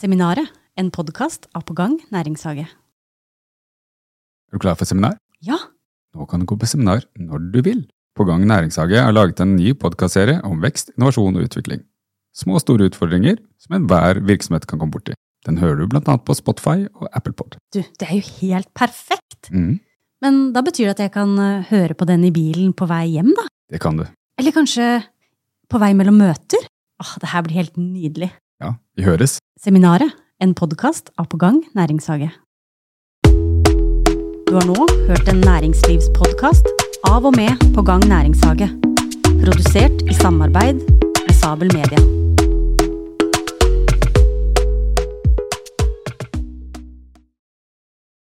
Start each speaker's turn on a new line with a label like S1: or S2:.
S1: Seminaret, en podkast av På gang næringshage.
S2: Er du klar for seminar?
S1: Ja,
S2: Nå kan du gå på seminar når du vil. På Gang Næringshage har laget en ny podkastserie om vekst, innovasjon og utvikling. Små og store utfordringer som enhver virksomhet kan komme borti. Den hører du blant annet på Spotify og ApplePod.
S1: du, det er jo helt perfekt!
S2: Mm,
S1: Men da betyr det at jeg kan eh, høre på den i bilen på vei hjem, da?
S2: det kan du.
S1: Eller kanskje på vei mellom møter? Åh, det her blir helt nydelig.
S2: Ja, vi høres.
S1: Seminaret, en podkast av På gang næringshage. Du har nå hørt en næringslivspodkast av og med På gang næringshage. Produsert i samarbeid med Sabel Media.